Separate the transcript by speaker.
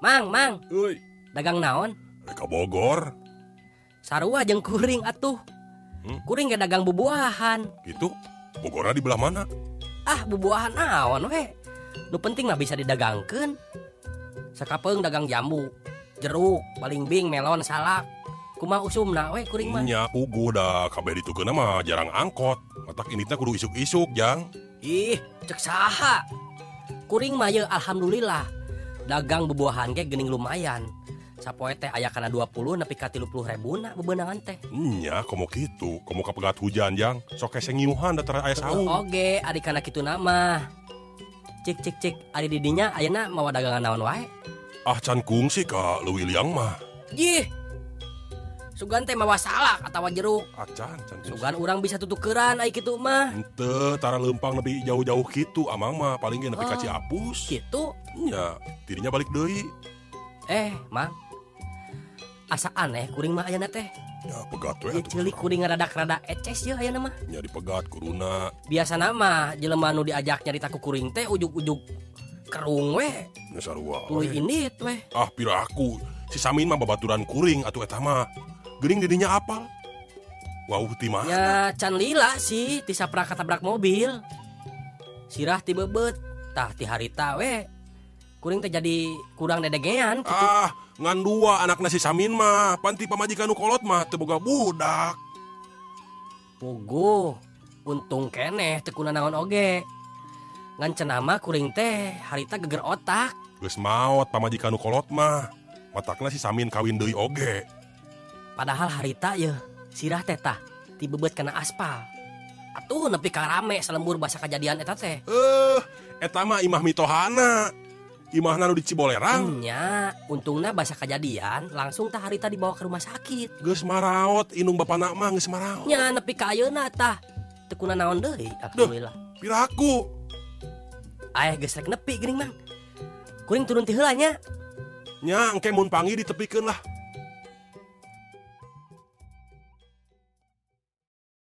Speaker 1: Mang, mang,
Speaker 2: Euy,
Speaker 1: dagang naon?
Speaker 2: rek ka Bogor
Speaker 1: Sarua jeung kuring atuh.
Speaker 2: Hmm.
Speaker 1: Kuring ge dagang bubuahan.
Speaker 2: gitu. Bogora di belah mana?
Speaker 1: Ah, bubuahan naon we? Nu penting mah bisa didagangkeun. Sakapeung dagang jambu, jeruk, palingbing, melon, salak. Kumaha usumna we kuring mah?
Speaker 2: Nya ugu da kabeh ditukeunna mah jarang angkot. Matak initna kudu isuk-isuk, Jang.
Speaker 1: Ih, cek saha. Kuring mah ye alhamdulillah. Dagang bubuahan ge geuning lumayan. Sapoe teh aya kana 20 nepi ka 30 rebuna bebenangan teh.
Speaker 2: Nya komo kitu, komo kapegat hujan, Jang. Sok kese ngiuhan da tara aya saung.
Speaker 1: Oge, ari kana kitu nama. Cik cik cik, ari di dinya ayeuna mawa dagangan naon wae?
Speaker 2: Ah can kungsi ka leuwih liang mah.
Speaker 1: Jih. Sugan teh mawa salak atawa jeruk.
Speaker 2: Acan Ah, can kungsi.
Speaker 1: Sugan urang bisa tutukeran ai kitu mah.
Speaker 2: Ente tara lempang lebih jauh-jauh gitu amang mah paling ge nepi ka
Speaker 1: Oh.
Speaker 2: Ciapus.
Speaker 1: Kitu.
Speaker 2: Nya, dirinya balik deui.
Speaker 1: Eh, Mang. Asa aneh kuring mah ayeuna teh.
Speaker 2: Ya pegat we
Speaker 1: Ieu
Speaker 2: atuh.
Speaker 1: ceulik kuring rada-rada eces ye ayeuna mah.
Speaker 2: Nya dipegat kuruna.
Speaker 1: Biasa nama jelema nu diajak nyarita ku kuring teh ujug-ujug kerung weh,
Speaker 2: Nya sarua.
Speaker 1: tuluy
Speaker 2: we.
Speaker 1: indit weh.
Speaker 2: Ah piraku si Samin mah babaturan kuring atuh eta mah. Geuning didinya apal. Wauh ti mah.
Speaker 1: Ya can lila sih tisa prak tabrak mobil. Sirah ti bebet, tah ti harita we. Kuring teh jadi kurang dedegean.
Speaker 2: Ah, ngan dua anak nasi Samin mah, panti pamajikan nu kolot mah teu boga budak.
Speaker 1: Pogo, untung keneh teu kuna naon oge. Ngan cenama kuring teh harita geger otak.
Speaker 2: Geus maot pamajikan nu kolot mah. Matakna si Samin kawin deui oge.
Speaker 1: Padahal harita ye sirah teh tah ti bebet kana aspal. Atuh nepi ka rame selembur basa kajadian eta teh.
Speaker 2: Eh, eta mah Imah Mitohana. Imahna nu di Cibolerang
Speaker 1: Nya, untungnya basa kajadian langsung tah harita dibawa ke rumah sakit.
Speaker 2: geus maraot inung bapana mah geus maraot.
Speaker 1: nya nepi ka ayeuna tah teu kuna naon deui alhamdulillah
Speaker 2: Piraku.
Speaker 1: aya geus rek nepi geuning mang kuring turun ti heula nya
Speaker 2: Nya engke mun pangi ditepikeun lah.